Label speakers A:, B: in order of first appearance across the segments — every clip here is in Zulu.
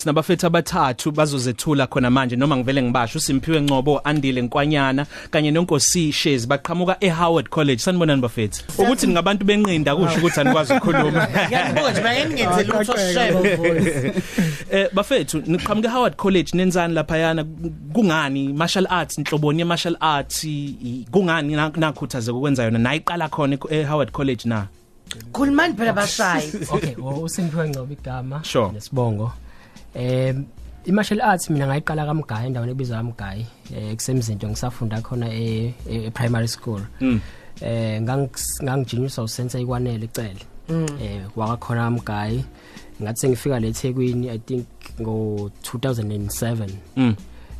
A: Sinabafethu abathathu bazozethula khona manje noma ngivele ngibasho uSimphiwe Ngcobo, Andile Nkwanyana kanye noNkosi Shezi baqhamuka eHoward College. Sanibonani bafethu. Ukuthi ningabantu benqinda kusho ukuthi anikwazi ukukhuluma.
B: Ngiyanibuka nje bayengenzela lutho shebo.
A: Eh bafethu niqhamuka eHoward College nenzani lapha yana kungani martial arts inhloboni ye martial arts i- kungani na- nakhuthazeka ukwenza yona nayiqala khona e- eHoward College na.
B: Khulumani phela bashayi.
C: okay usingiphiwe ngcobo igama
A: Sure.
C: nesibongo um i-martial arts mina ngayiqala kamgayi endaweni ebizwa kamgayi um kusemzinto ngisafunda khona e- e- e-primary school um ngangijinyiswa usensei kwanele icele um wakakhona kamgayi ngathi sengifika le ethekwini i think ngo-2007 um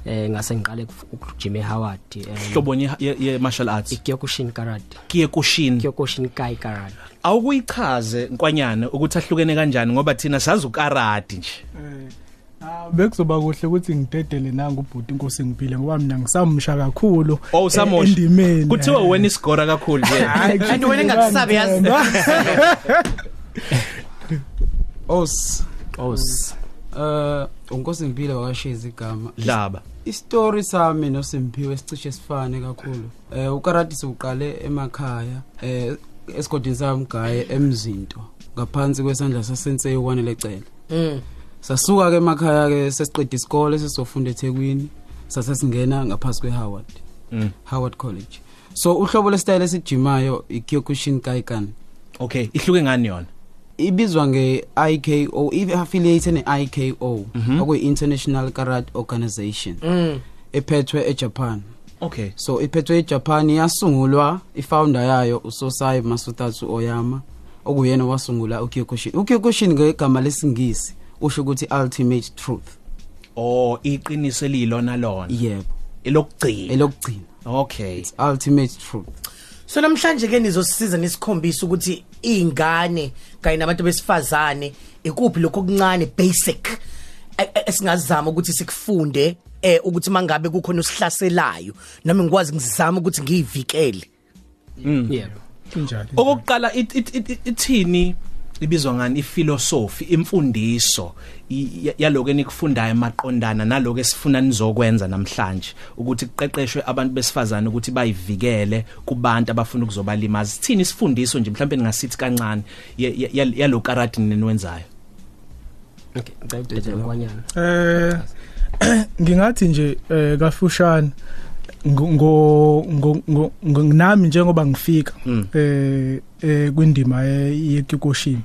C: ngase ngiqale ukujima ehoward um
A: Inhloboni ye- ye- ye martial arts.
C: ikyokushin karate
A: Kiyekushin.
C: ikyokushin kai karate
A: awukuyichaze nkwanyana ukuthi ahlukene kanjani ngoba thina sazi ukarati nje
D: Eh, bekuzoba kuhle ukuthi ngidedele nanga ubhuti inkosi ngiphile ngoba mina ngisamsha kakhulu
A: Oh, usamosha.
D: eh, endimeni
A: kuthiwa wena isigora kakhulu nje
D: Hhayi,
B: And wena engakusabi yazi.
E: Os
C: os
E: eh unkosi ngiphile wakashezi igama.
A: dlaba
E: Isitori sami noSimpiwe sicishe sifane kakhulu. Eh ukarati siqale emakhaya eh esigodini sami gaye emzinto ngaphansi kwesandla sasensei kwanele cele.
B: Mm.
E: Sasuka ke emakhaya ke sesiqeda isikole sesizofunda eThekwini sasesingena ngaphansi kweHoward.
A: Mm.
E: Howard College. So uhlobo lestyle esijimayo ikyokushin kaikan.
A: okay ihluke ngani yona
E: ibizwa nge-IKO i-affiliate ne-IKO okuyi-International Karate Organization
B: Mm.
E: ephethwe eJapan
A: okay
E: so iphethwe eJapan yasungulwa ifounder yayo uSosai Masutatsu Oyama okuyena wasungula uKyokushin uKyokushin ngegama lesingisi usho ukuthi ultimate truth
A: oh iqinise lilona lona
E: yebo
A: elokugcina
E: elokugcina
A: okay
E: ultimate truth
B: So namhlanje ke nizosisiza nisikhombisa ukuthi ingane kanye nabantu besifazane ikuphi lokho okuncane basic e- e- esingazama ukuthi sikufunde eh ukuthi mangabe kukhona usihlaselayo nami ngikwazi ngizama ukuthi ngiyivikele.
C: yebo
D: kunjani
A: Oh, okokuqala it- it- it- it- ithini ibizwa ngani iphilosophy imfundiso i- ya- yaloko enikufundayo maqondana naloko esifuna nizokwenza namhlanje ukuthi kuqeqeshwe abantu besifazane ukuthi bayivikele kubantu abafuna ukuzobalimaza ithini isifundiso nje mhlawumbe ningasithi kancane ye- ye- yal- yalokaradi nenwenzayo
C: okay ngicela ukudedela kwanyana
D: eh ngingathi nje eh, kafushane ngo- ngo ngo- ngo- ngo- nami njengoba ngifika
A: Mm.
D: eh eh, kwindima ye- yekikoshini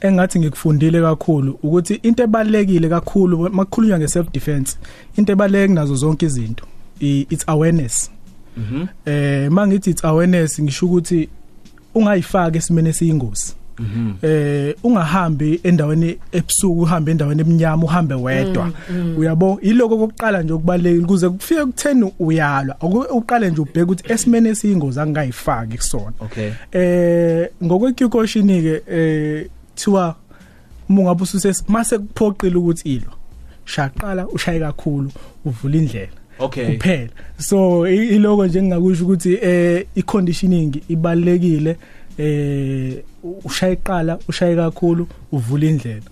D: engathi ngikufundile kakhulu ukuthi into ebalekile kakhulu makukhulunywa nge self defense into ebaleke nazo zonke izinto i- it's awareness
A: mhm
D: eh mangithi it's awareness ngisho ukuthi ungayifaki esimene siyingozi
A: mhm
D: eh ungahambi endaweni ebusuku uhambe endaweni eminyama uhambe wedwa uyabo iloko kokuqala nje ukubalekile kuze kufike kutheni uyalwa Uku- uqale nje ubheke ukuthi esimene siyingozi angayifaki kusona
A: okay
D: eh ngokwekyukoshini ke eh thiwa mungabe ususe mase kuphoqile ukuthi ilo shaqala ushaye kakhulu uvula indlela
A: okay
D: kuphela so i- iloko nje ngingakusho ukuthi eh iconditioning ibalekile eh u- ushaye iqala ushaye kakhulu uvula indlela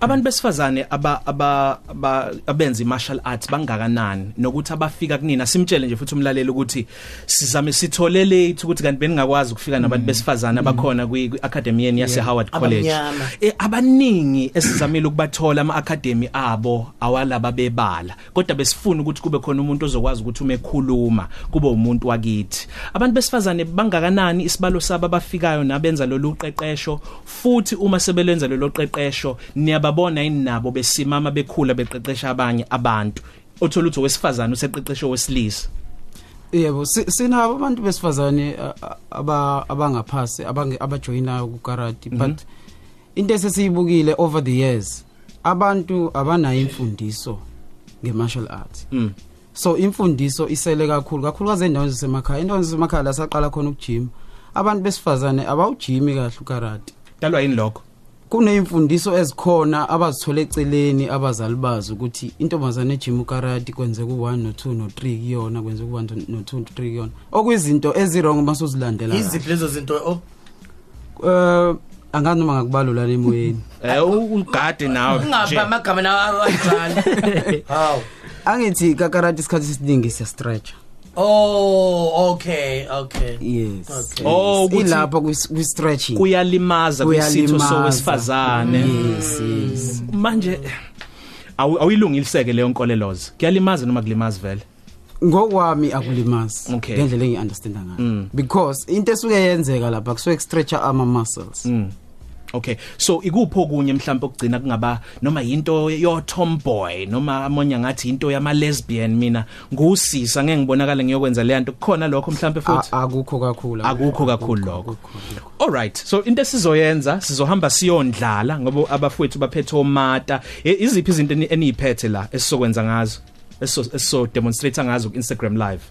A: abantu besifazane aba aba aba- abenza i-martial arts bangakanani nokuthi abafika kunina simtshele nje futhi umlaleli ukuthi sizame sithole late ukuthi kanti beningakwazi ukufika nabantu besifazane abakhona kwi kwi- academy yeni yase Howard College
B: Abamnyama.
A: Eh, abaningi esizamile ukubathola ama academy abo awalaba bebala kodwa besifuna ukuthi kube khona umuntu ozokwazi ukuthi uma ekhuluma kube umuntu wakithi abantu besifazane bangakanani isibalo sabo abafikayo nabenza lolu qeqesho futhi uma sebelenza lolu qeqesho niyababona yini nabo besimama bekhula beqeqesha abanye abantu othola ukuthi owesifazane useqeqesho wesilisa
E: yebo si- sinabo abantu besifazane a- a- aba abangaphasi abange- abajoyinayo kukarate but into esesiyibukile over the years abantu abanayo imfundiso nge-martial arts
A: mm
E: so imfundiso isele kakhulu kakhulukazi endaweni zasemakhaya endaweni zasemakhaya la saqala khona ukujima abantu besifazane abawujimi kahle ukarate
A: dalwa yini lokho
E: kuneyimfundiso ezikhona abazithola eceleni abazali bazi ukuthi intombazane ejima ukarati kwenzeka u-1 no-2 no-3 kuyona kwenzeka u-1 no-2 no-3 Ah. kuyona okuyizinto ezirong uma suzilandela
B: Iziphi lezo zinto oh
E: um angazi noma ngakubalula lemoyeni
A: eh ugade nawe
B: ungapha
A: nje.
B: amagama nawo ajala haw
E: angithi kakarati isikhathi esiningi siyastretcha
B: oh okay okay
E: yes
B: Okay.
A: Oh,
E: Yes.
A: ukuthi-
E: ilapha kwi-stretching
A: kuyalimaza kwisitho
E: Kuyalimaza.
A: sowesifazane
E: yes yes
A: manje awu- awuyilungiliseke leyo nkoleloza kuyalimaza noma kulimaza vele
E: ngokwami akulimazi
A: Okay. Mm.
E: ngendlela engiyiunderstanda ngayo because into esuke yenzeka lapha kusuke stretcha ama muscles
A: Mm. Okay so ikupho kunye mhlawumbe ukugcina kungaba noma into yo tomboy noma amonya ngathi into yama lesbian mina ngusisa ngeke ngibonakale ngiyokwenza le nto kukhona lokho mhlawumbe
E: A-
A: futhi
E: akukho kakhulu
A: akukho kakhulu lokho all right so into esizoyenza sizohamba siyondlala ngoba abafowethu baphethe omata E- iziphi izinto eni- eniyiphethe la esizokwenza ngazo eso eso demonstrate ngazo ku Instagram live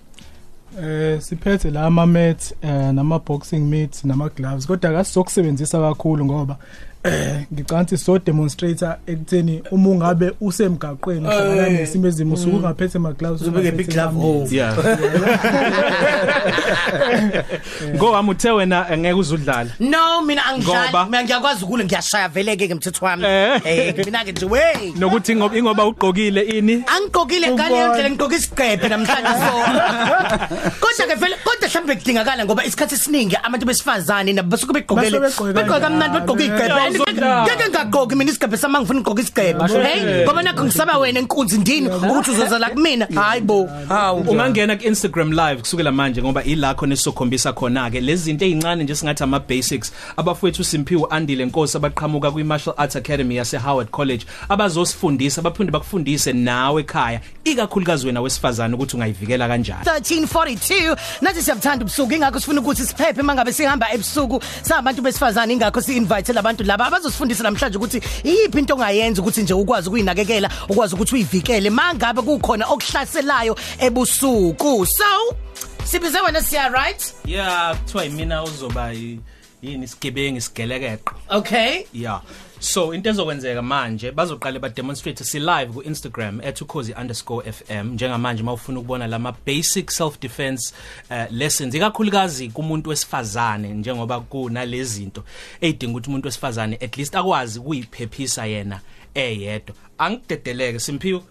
D: Eh siphethe la ama mat eh nama boxing mitts nama gloves kodwa asizokusebenzisa kakhulu ngoba eh ngicantsi so demonstrator ekutheni uma ungabe usemgaqweni uhlangana
B: Eh.
D: nesimo ezimo usuke ungaphethe ama gloves
B: uzobeke big glove oh
A: yeah go amuthe wena eh, ngeke uzudlala
B: no mina
A: Ngoba-
B: angidlali mina ngiyakwazi ukule ngiyashaya veleke ke mthetho wami
A: Eh.
B: eh mina ke nje wey
A: nokuthi ingoba ingoba ugqokile ini
B: angigqokile ngale yondlela ngigqoke isigqebhe namhlanje sona kodwa ke vele kodwa mhlawumbe kudingakala ngoba isikhathi esiningi abantu besifazane nabo basuke begqokele
D: Basuke begqoke
B: begqoke kamnandi begqoke isigqebhe
A: Yeah,
B: And ngeke-
A: uzondla.
B: ngeke ngagqoki mina isigqebhe sama ngifuna ngigqoke isigqebhe hey ngoba nakho ngisaba wena enkunzi ndini ukuthi uzozala kumina hayi bo hawu
A: ungangena ku Instagram Ah, live kusukela manje ngoba ilakho nesizokhombisa khona ke lezi zinto ezincane nje singathi ama basics abafowethu Simpiwe Andile Nkosi abaqhamuka kwi Martial Arts Academy yase Howard College abazosifundisa baphinde bakufundise nawe ekhaya ikakhulukazi wena wesifazane ukuthi ungayivikela kanjani
B: 1342 nathi siyabuthanda ubusuku ingakho sifuna ukuthi siphephe mangabe sihamba ebusuku sabantu besifazane ingakho si-invite labantu laba abazosifundisa namhlanje ukuthi iyiphi into ongayenza ukuthi nje ukwazi ukuyinakekela ukwazi ukuthi uyivikele mangabe kukhona okuhlaselayo ebusuku so sibize wena siya right
A: yeah kuthiwa imina uzoba yini isigebengu isigelekeqo
B: okay
A: yeah so into ezokwenzeka manje bazoqale ba demonstrate si live ku Instagram @ukhozi_fm njengamanje mawufuna ukubona lama basic self defense uh, lessons ikakhulukazi kumuntu wesifazane njengoba kunalezi zinto eyidinga ukuthi umuntu wesifazane at least akwazi kuyiphephisa yena eyedwa angidedeleke simpiwe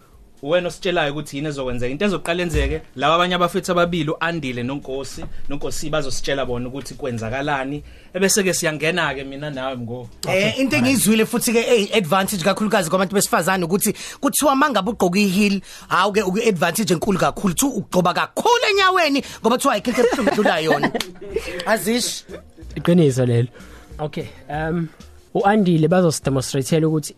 A: wena ositshelayo ukuthi yini ezokwenzeka into ezoqala enzeke laba abanye abafethu ababili uandile nonkosi nonkosi bazositshela bona ukuthi kwenzakalani ebese ke siyangena ke mina nawe mngo
B: Eh into engizwile futhi ke ey advantage kakhulukazi kwabantu besifazane ukuthi kuthiwa mangabe ugqoka iheel hawu ke uku advantage enkulu kakhulu uthi ugqoba kakhulu enyaweni ngoba kuthiwa ikhethe ebuhlungu edlula yona azish
C: iqiniso lelo okay um uandile bazosidemonstrate ukuthi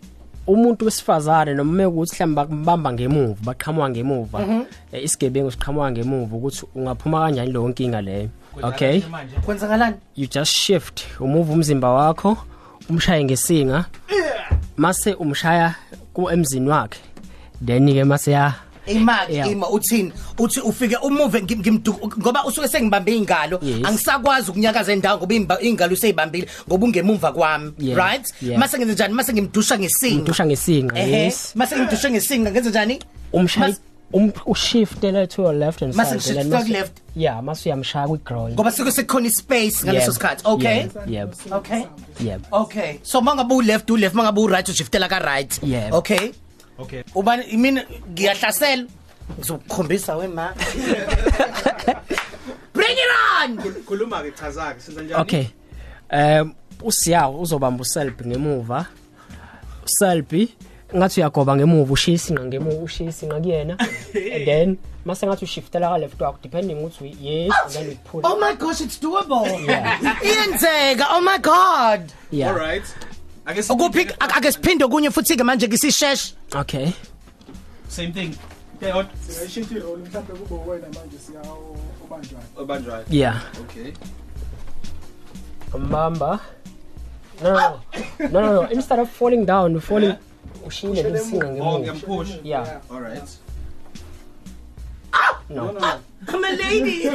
C: umuntu wesifazane noma ukuthi mhlamba bamba ngemuva baqhamuka ngemuva eh, isigebengu siqhamuka ngemuva ukuthi ungaphuma kanjani lo nkinga leyo okay
B: kwenzakalani
C: you just shift umuva umzimba wakho umshaye ngesinga mase umshaya ku emzini wakhe then ke mase ya
B: imaki
C: Yeah.
B: ima uthini uthi ufike umuve ngim- ngimduku ngoba usuke sengibambe ingalo
C: Yes.
B: angisakwazi ukunyakaza indawo ngoba imba- ingalo useyibambile ngoba ungemuva kwami
C: Yeah.
B: right
C: Yeah.
B: mase ngenze njani mase ngimdusha ngesinga
C: udusha ngesinga
B: ehe
C: yes
B: mase ngimdushe ngesinga ngenze njani
C: umshaya
B: Mas-
C: um ushiftele to your left and
B: Mase
C: side then
B: ngishifte
C: mase-
B: left?
C: yeah mase uyamshaya kwi groin
B: ngoba sike sekukhona ispace ngaleso sikhathi okay
C: yep
B: okay
C: yep
B: okay so mangabe u left u left mangabe u right ushiftela ka right
C: Yebo.
B: okay
A: okay
B: ubani i mean ngiyahlasela ngizokukhombisa we ma bring it on
A: khuluma ke chaza ke senza njani
C: okay um usiyawo uzobamba uself ngemuva self ngathi uyagoba ngemuva ushiya isinqa ngemuva ushiya isinqa kuyena and then mase ngathi ushiftela ka left wakho depending ukuthi yes and then you pull
B: oh my gosh it's doable iyenzeka oh my god
C: yeah
A: right ake
B: ukuphi ak- ake siphinde okunye futhi ke manje kisisheshe
C: okay
A: same thing Teyot
D: sishintshe role mhlawumbe oh, kube uwena manje siya ubanjwa
A: obanjwa
C: yeah
A: okay
C: umbamba no no no. no no no instead of falling down you falling ushile lesinqa ngemuva
A: ngiyampush
C: yeah
A: all right
B: i'm a lady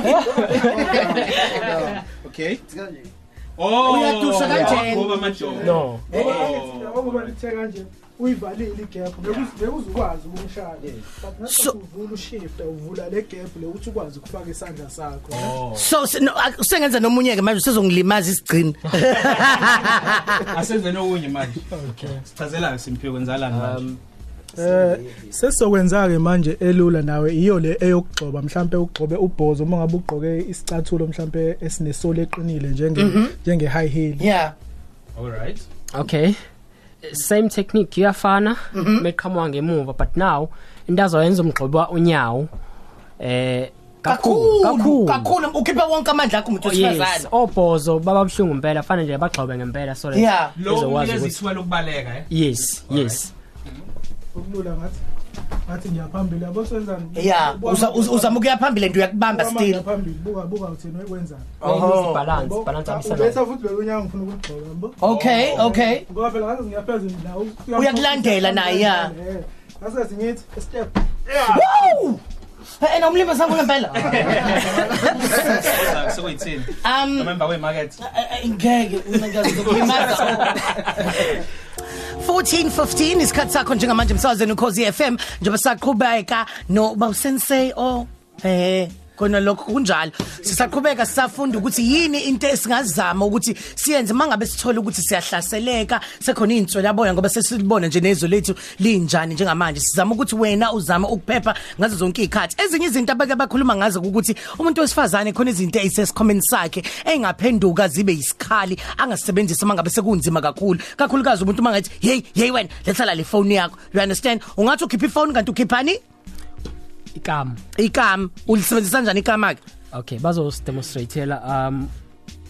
A: okay oh
B: Oh, Uyadusha kanjena.
A: ngoba manje
C: no
B: Oh.
D: Eh, ngoba ngitheka kanje uyivalile igap bekuzukwazi ukumshaya but
B: So-
D: nasuvula ushifta uvula le gap le ukuthi ukwazi ukufaka isandla sakho
B: Eh. so se- no, ak- sengenza nomunye ke manje usezongilimaza isigcini Ah.
A: asenzeni okunye manje okay Um, sichazelana simpiwe kwenzalani manje
D: Eh sesokwenza ke manje elula nawe iyo le eyokugcoba mhlambe ugcobe ubhozo uma ngabe ugqoke isicathulo mhlambe esinesole eqinile njenge njenge high heel
B: yeah
A: all right
C: okay same technique iyafana
B: Mm-hmm.
C: meqhamuka ngemuva but now into azoyenza umgxoba unyawo eh
B: kakhulu Oh, kakhulu ukhipha wonke amandla akho umuntu
C: yes
B: wesifazane
C: obhozo bababhlungu impela fana nje bagxobe ngempela so that
B: Yeah.
A: lo
C: bezokwazi
A: unikeza
C: ukuthi-
A: ithuba lokubaleka eh
C: yes yes
D: ukulula ngathi ngathi ngiyaphambili yabo senzani
B: yeah uza- uza- uzama ukuya phambili and uyakubamba still
D: phambili buka buka uthini ukwenzani
C: Maybe balance balance
D: ubetha
C: amsela
D: futhi lolu nyawo ngifuna ukugcoba yabo
B: okay okay
D: ngoba phela ngathi ngiyaphezulu la
B: Uyakulandela naye, yeah.
D: eh. ngase singithi a step
B: Woo! Eh, and umlimi sangu ngempela
A: sekuyithini
B: um oh
A: remember we market
B: ngeke mina ngiyazokulimaza 14:15 isikhatsi sakho njengamanje umsazweni ukhozi FM njoba saqhubeka no bawusensei o eh kona lokho kunjalo sisaqhubeka sisafunda ukuthi yini into esingazama ukuthi siyenze mangabe sithola ukuthi siyahlaseleka sekhona inswela boya ngoba sesilibona nje nezwe lethu linjani njengamanje sizama ukuthi wena uzama ukuphepha ngazo zonke izikhathi ezinye izinto abake bakhuluma ngazo ukuthi umuntu wesifazane khona izinto ezisesikhomeni sakhe engaphenduka zibe isikhali angasebenzisa mangabe sekunzima kakhulu kakhulukazi umuntu mangathi hey hey wena lethala le phone yakho you understand ungathi ukhipha iphone kanti ukhiphani
C: ikam
B: ikam ulisebenzisa kanjani ikama ke
C: okay bazodemonstratela um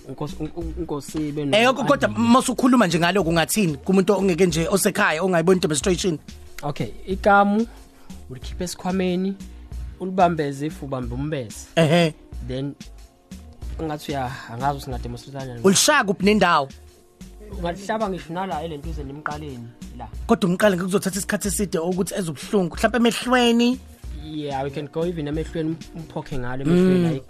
C: inkosi un- un- inkosi beno
B: Eh yoko kodwa masukhuluma nje ngalo kungathini kumuntu ongeke nje osekhaya ongayiboni demonstration
C: okay ikamu ulikhipha esikhwameni ulibambeze if ubambe umbese
B: ehe
C: then ungathi uya angazi ukuthi ngademonstrate
B: ulishaya kuphi nendawo
C: ungalihlaba ngisho nala elentuze nemqaleni la
B: kodwa umqala ngikuzothatha isikhathi eside ukuthi ezobhlungu mhlawumbe emehlweni
C: yeah we can go even emehlweni umphokhe ngalo emehlweni like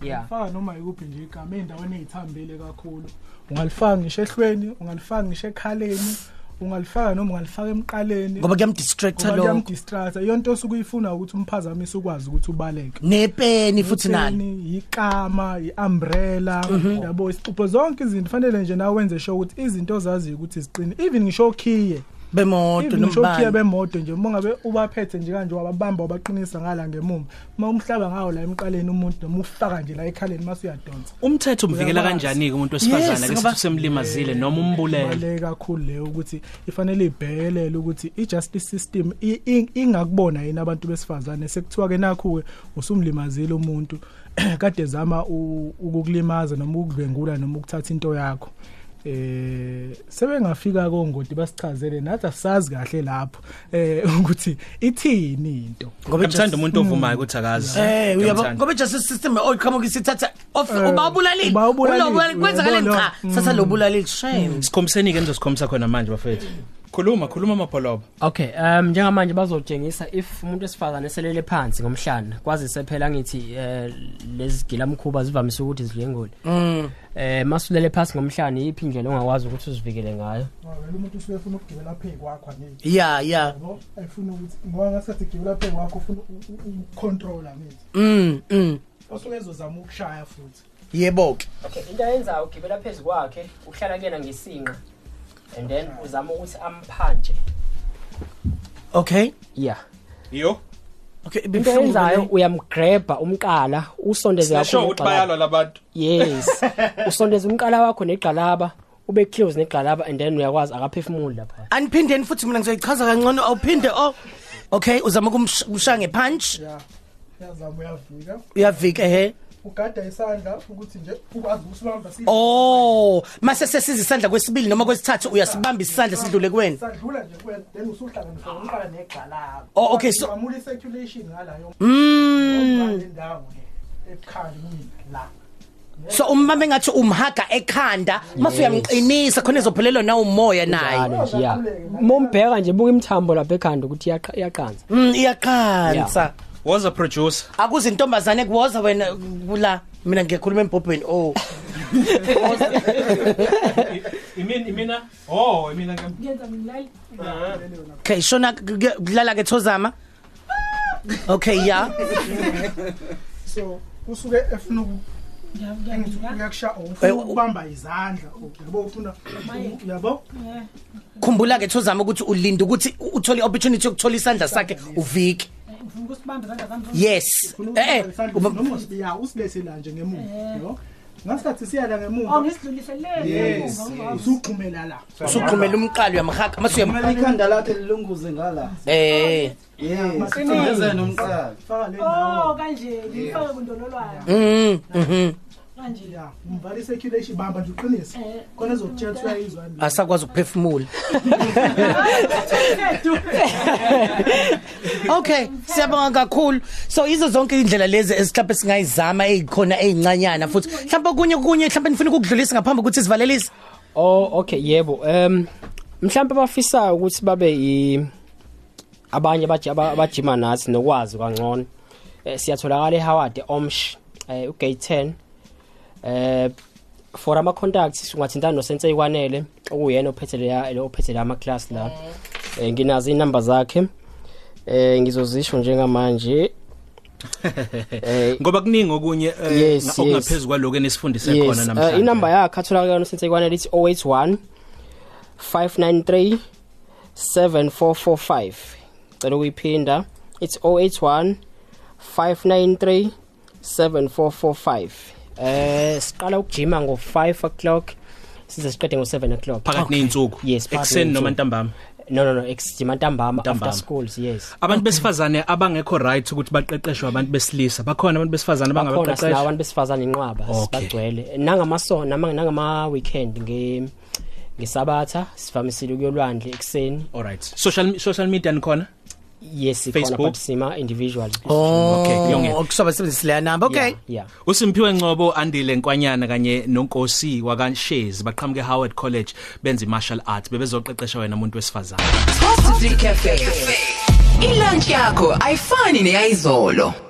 C: Mm. yeah
D: faka noma ikuphi nje igama endaweni ezithambile kakhulu ungalifaka ngisho ehlweni ungalifaka ngisho ekhaleni ungalifaka noma ungalifaka emqaleni
B: ngoba kuyamdistracta
D: ngoba
B: lo
D: kuyamdistracta yonto osuke uyifuna ukuthi umphazamise ukwazi ukuthi ubaleke
B: nepeni futhi Mhm. nalo
D: Itheni, ikama i-umbrella yabo isixupho zonke izinto fanele nje nawe wenze sure ukuthi izinto ozaziyo ukuthi ziqine even ngisho okhiye
B: bemoto
D: even ngisho okhiye
B: nombani
D: bemoto nje uma ngabe ubaphethe nje kanje wababamba wabaqinisa ngala ngemumva uma umhlaba ngawo la emqaleni umuntu noma ufaka nje la ekhaleni mase uyadonsa
A: umthetho umvikela
D: Uyakwazi.
A: kanjani ke umuntu
B: Yes,
A: wesifazana ke
B: ngoba-
A: sithi semlimazile noma umbulele
D: baleka kakhulu leyo ukuthi ifanele ibhekelele ukuthi i-justice system i- i- ingakubona yini abantu besifazane sekuthiwa-ke nakhu-ke usumlimazile umuntu kade zama u- ukukulimaza noma ukukudlwengula noma ukuthatha into yakho eh sebengafika kongoti basichazele nathi asazi kahle lapho eh ukuthi ithini into
B: ngoba i-justice-
A: ngiyamthanda umuntu ovumayo ukuthi akazi
B: Eh uyabo
A: Ngiyamthanda.
B: ngoba justice system oyiqhamuka isithatha off
D: Eh,
B: ubawubulalile
D: ubawubulalile,
B: Ulobulali- kwenzakale
D: uyabona?
B: cha sasa lobulalile shame
A: sikhombiseni ke nizosikhomisa khona manje bafethu khuluma khuluma amabholobo
C: okay um njengamanje bazotshengisa if umuntu esifazane selele phansi ngomhlana kwazise phela ngithi eh, lezi gilamkhuba zivamise ukuthi zidlengule
B: Mm.
C: eh masulele phansi ngomhlana yiphi indlela ongakwazi ukuthi uzivikele ngayo
D: vele umuntu usuke efuna ukugibela phezu kwakho angithi
B: yeah yeah
D: yabo efuna ukuthi ngoba ngasathi gibela phezu kwakho ufuna ukucontrola ngithi
B: mm mm
D: osuke ezozama ukushaya futhi
B: yebo ke
C: okay into ayenzayo ugibela phezu kwakhe uhlala kuyena ngesinqa and then uzama ukuthi amphanje
B: okay
C: yeah
A: yo
B: okay
C: into
B: ibihlungu
C: ayenzayo
B: le.
C: uyamgrabha umqala usondeze
A: sho
C: kakhulu
A: ukuthi
C: negxalaba.
A: bayalwa labantu
C: yes usondeze umqala wakho negqalaba ube close negqalaba and then uyakwazi akaphefumuli lapha
B: aniphindeni futhi mina ngizoyichaza kangcono awuphinde o okay uzama ukumshaya ngepunch
D: ya yazama uyafika
B: uyavika ehe
D: ugada isandla ukuthi nje ukwazi ukusibamba si-
B: oh mase sesiza isandla kwesibili noma kwesithathu uyasibamba isandla sidlule kuwena
D: sadlula nje kuwena then usuhlanganisa umqala negxalaba
B: Ah. Oh, okay, so-
D: amula circulation ngalayo
B: mm
D: indawo le ekhanda mina la
B: so uma bengathi umhaga ekhanda mase uyamqinisa khona ezophelelwa na umoya naye
C: njalo nje ya mombheka nje buka imthambo lapha ekhanda ukuthi iyaqa- iyaqanza
B: mm iyaqhansa
A: was a producer
B: akuzintombazane kuwoza wena kula mina ngiyakhuluma embhobheni oh
A: Imina imina oh imina ngiyakwenza ngilali.
B: Okay, shona kudlala ke Thozama. Okay, yeah.
D: so kusuke efuna uku- uyakusha
B: Eh,
D: ufuna ukubamba izandla Oh, yabo ufuna yabo
B: Khumbula ke Thozama ukuthi ulinda ukuthi uthole opportunity yokuthola isandla sakhe uvike. Yes. Eh eh.
D: noma usibiya usibese la nje ngemuva yabo ngasikhathi siya la
B: Oh,
D: ngemuva yes usugqumela la
B: Usuqhumela umqalo uyamhaka mase uyam
F: ikhanda lakhe lilunguze ngala
B: eh
F: yeseze nomqala
D: faka le ndawo
B: mm mhm
D: ya umvalise ikhile bamba nje uqinise khona ezokutshela ukuthi uyayizwa yini.
B: asakwazi ukuphefumula okay siyabonga kakhulu so izo zonke indlela lezi esihlaphe singayizama ezikhona ezincanyana futhi mhlawumbe kunye kunye mhlawumbe nifuna ukudlulisa ngaphambi ukuthi sivalelise
C: Oh okay yebo. Um mhlawumbe abafisa ukuthi babe i abanye abaji- aba- abajima nathi nokwazi kangcono. Eh siyatholakala eHoward eOmsh eh uGate 10. Eh for ama contacts ungathintana noSense Ikwanele okuyena ophethe leya lo ophethe la ama class la. Eh nginazo inamba zakhe. Eh ngizozisho njengamanje. Eh
A: Ngoba kuningi okunye eh,
C: Yes,
A: nga-
C: yes.
A: okungaphezulu kwaloko enisifundise khona
C: yes
A: namhlanje.
C: uh, inamba yakhe atholakala noSense Ikwanele ithi 081 593 7445 cela ukuyiphinda it's 081 593 7445 eh siqala ukujima ngo 5 o'clock size siqede ngo 7 o'clock
A: phakathi nezinsuku
C: Yes, phakathi
A: ekuseni noma
C: ney'nsuku.
A: ntambama.
C: no no no eksijima ntambama after
A: Ntambama.
C: schools yes
A: Abantu besifazane abangekho right ukuthi baqeqeshwe abantu besilisa. Bakhona abantu besifazane
C: bakhona sina
A: bangabaqeqeshwa.
C: abantu besifazane inqwaba
A: Okay.
C: bagcwele nangamasona nangama weekend nge ngesabatha sivamisile ukuyolwandle ekseni
A: Alright. Social social media nikhona?
C: yes ikhona
A: Facebook?
C: but sima individual
A: Okay, kuyongena.
B: okusoba sibenzise leya namba okay
C: yeah
A: uSimphiwe Ngcobo andile Nkwanyana kanye noNkosi wakaShezi baqhamuke Howard College benza imartial arts bebezoqeqesha wena umuntu wesifazane
G: Positive Cafe. Ilunch yakho ayifani neyizolo.